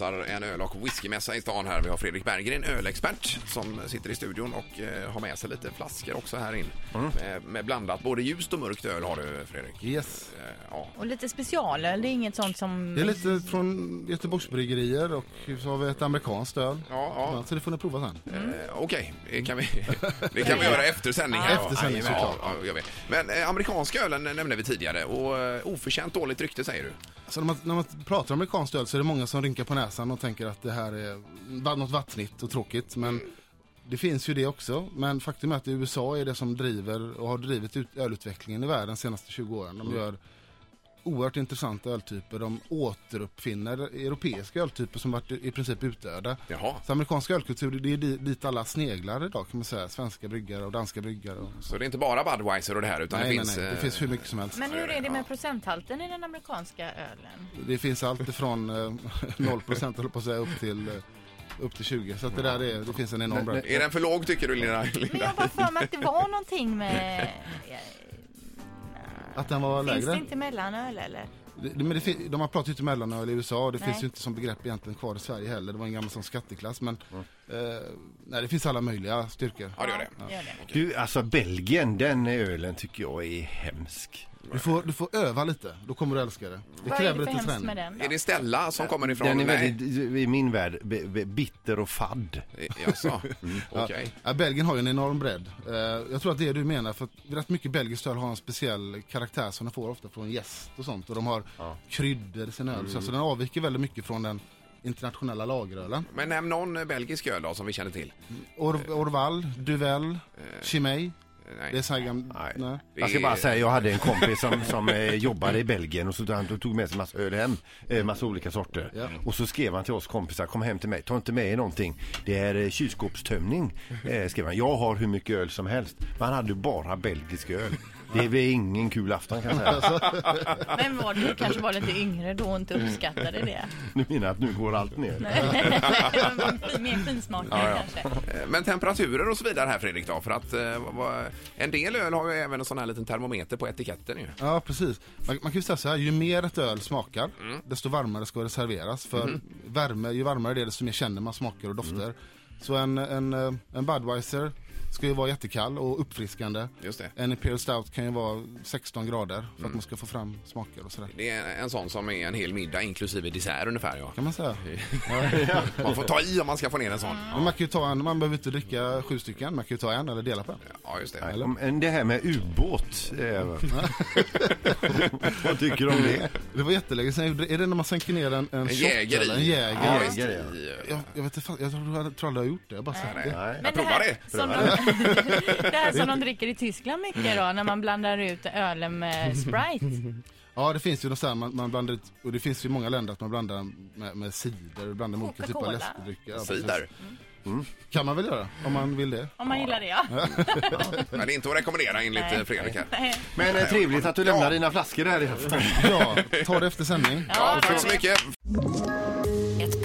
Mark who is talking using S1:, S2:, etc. S1: anordnar en öl och whiskymässa i stan här. Vi har Fredrik Berggren, ölexpert, som sitter i studion och eh, har med sig lite flaskor också här in.
S2: Mm.
S1: Med, med blandat, både ljust och mörkt öl har du Fredrik.
S2: Yes.
S1: Eh, ja.
S3: Och lite specialöl, det är inget sånt som...
S2: Det är lite från Göteborgsbryggerier och så har vi ett amerikanskt öl.
S1: Ja, ja.
S2: Så det får ni prova sen.
S1: Eh, Okej, det kan vi, det kan vi göra efter sändning. här.
S2: Efter sändning,
S1: Jajamän,
S2: såklart.
S1: ja, ja, jag vet. Men eh, amerikanska ölen nämnde vi tidigare och eh, oförtjänt dåligt rykte säger du.
S2: Så när man, när man pratar om amerikanskt öl så är det många som rynkar på näsan och tänker att det här är va- något vattnigt och tråkigt. Men det finns ju det också. Men faktum är att i USA är det som driver och har drivit ut ölutvecklingen i världen de senaste 20 åren. De gör oerhört intressanta öltyper. De återuppfinner europeiska öltyper som varit i princip utdöda.
S1: Jaha.
S2: Så amerikansk ölkultur, det är di- dit alla sneglar idag kan man säga. Svenska bryggare och danska bryggare. Och så.
S1: Så det är inte bara Budweiser och det här utan
S2: Nej,
S1: det
S2: nej,
S1: finns...
S2: nej, det
S1: eh,
S2: finns hur mycket som helst.
S3: Men hur är det
S1: Ja.
S3: med procenthalten i den amerikanska ölen?
S2: Det finns allt ifrån eh, 0% höll jag på att säga upp till, eh, upp till 20 Så att det där är, det finns en enorm bredd.
S1: Är den för låg tycker du Linda?
S3: Men jag
S1: Linda?
S3: har för mig att det var någonting med...
S2: Att den var
S3: Finns det
S2: lägre?
S3: inte mellanöl eller?
S2: Det, men det, fin- de har pratat ju inte mellanöl i USA och det
S3: Nej.
S2: finns ju inte som begrepp egentligen kvar i Sverige heller. Det var en gammal sån skatteklass men eh, nej, det finns alla möjliga styrkor.
S1: Mm. Ja, det gör det.
S3: Gör det.
S4: Du, alltså Belgien, den ölen tycker jag är hemsk.
S2: Du får, du får öva lite, då kommer du älska det. Det
S3: Vad är
S2: kräver
S3: det
S2: lite
S3: för hemskt
S2: träning.
S3: med den? då?
S1: Är det Stella som kommer ifrån?
S4: Den är
S1: Nej.
S4: väldigt, i min värld, be- be- bitter och fadd.
S1: Jaså, okej.
S2: Ja, Belgien har ju en enorm bredd. Eh, jag tror att det är du menar, för att rätt mycket belgiskt öl har en speciell karaktär som de får ofta från jäst och sånt. Och de har kryddor i sin öl. Så alltså, den avviker väldigt mycket från den internationella lagerölen.
S1: Men nämn någon eh, belgisk öl då som vi känner till.
S2: Or- Orval, Duvel, Chimay.
S1: Eh, Nej.
S2: Det är så här gam-
S4: Nej.
S2: Nej.
S4: Jag ska bara säga, jag hade en kompis som, som eh, jobbade i Belgien och så han tog med sig massa öl hem, eh, massa olika sorter.
S2: Ja.
S4: Och så skrev han till oss kompisar, kom hem till mig, ta inte med er någonting. Det är eh, kylskåpstömning, eh, skrev han. Jag har hur mycket öl som helst. Men han hade ju bara belgisk öl. Det blir ingen kul afton kan jag säga.
S3: Men var du kanske var lite yngre då och inte uppskattade det?
S4: Nu menar jag att nu går allt ner.
S3: Men Mer finsmakare kanske?
S1: Eh, Men temperaturer och så vidare här Fredrik då? För att eh, vad- vad- en del öl har ju även en sån här liten termometer på etiketten ju.
S2: Ja, precis. Man, man kan ju säga så här, ju mer ett öl smakar, desto varmare ska det serveras. För värme, ju varmare det är, desto mer känner man smaker och dofter. Så en, en, eh, en Budweiser ska ju vara jättekall och uppfriskande.
S1: Just det.
S2: En Imperial Stout kan ju vara 16 grader för att man ska få fram smaker och sådär.
S1: Det är en sån som är en hel middag inklusive dessert ungefär ja.
S2: Kan man säga.
S1: Man får ta i om man ska få ner en sån.
S2: Men man kan ju ta en, man behöver inte dricka sju stycken, man kan ju ta en eller dela på en.
S1: Ja, just det.
S4: Nej, om- Men det här med ubåt, eh, vad tycker du om det?
S2: Det var jättelänge sedan, är det när man sänker ner en, en,
S1: En
S2: shot
S1: jäger
S2: eller en
S1: i.
S2: jäger?
S4: Ja,
S1: just
S4: jäger,
S1: det.
S2: Jag, jag vet inte, fan, jag tror jag tror aldrig jag har gjort det, jag har bara sett det.
S4: Nej.
S3: Men
S1: provar det.
S3: Som de, det här som de dricker i Tyskland mycket då, när man blandar ut ölen med Sprite.
S2: Ja, det finns ju något så här, man, man blandar ut, och det finns ju i många länder att man blandar med, med cider, och blandar med olika typer av
S3: Coca-Cola.
S2: läskedrycker. Ja, precis.
S1: Cider.
S2: Kan man väl göra, om man vill det.
S3: Om man gillar det ja.
S1: Men det är inte att rekommendera enligt eh, Fredrik här.
S4: Men eh, trevligt att du lämnar dina flaskor här i afton.
S2: Ja, ta det efter sändning.
S1: Ja, tack så mycket.
S5: Ett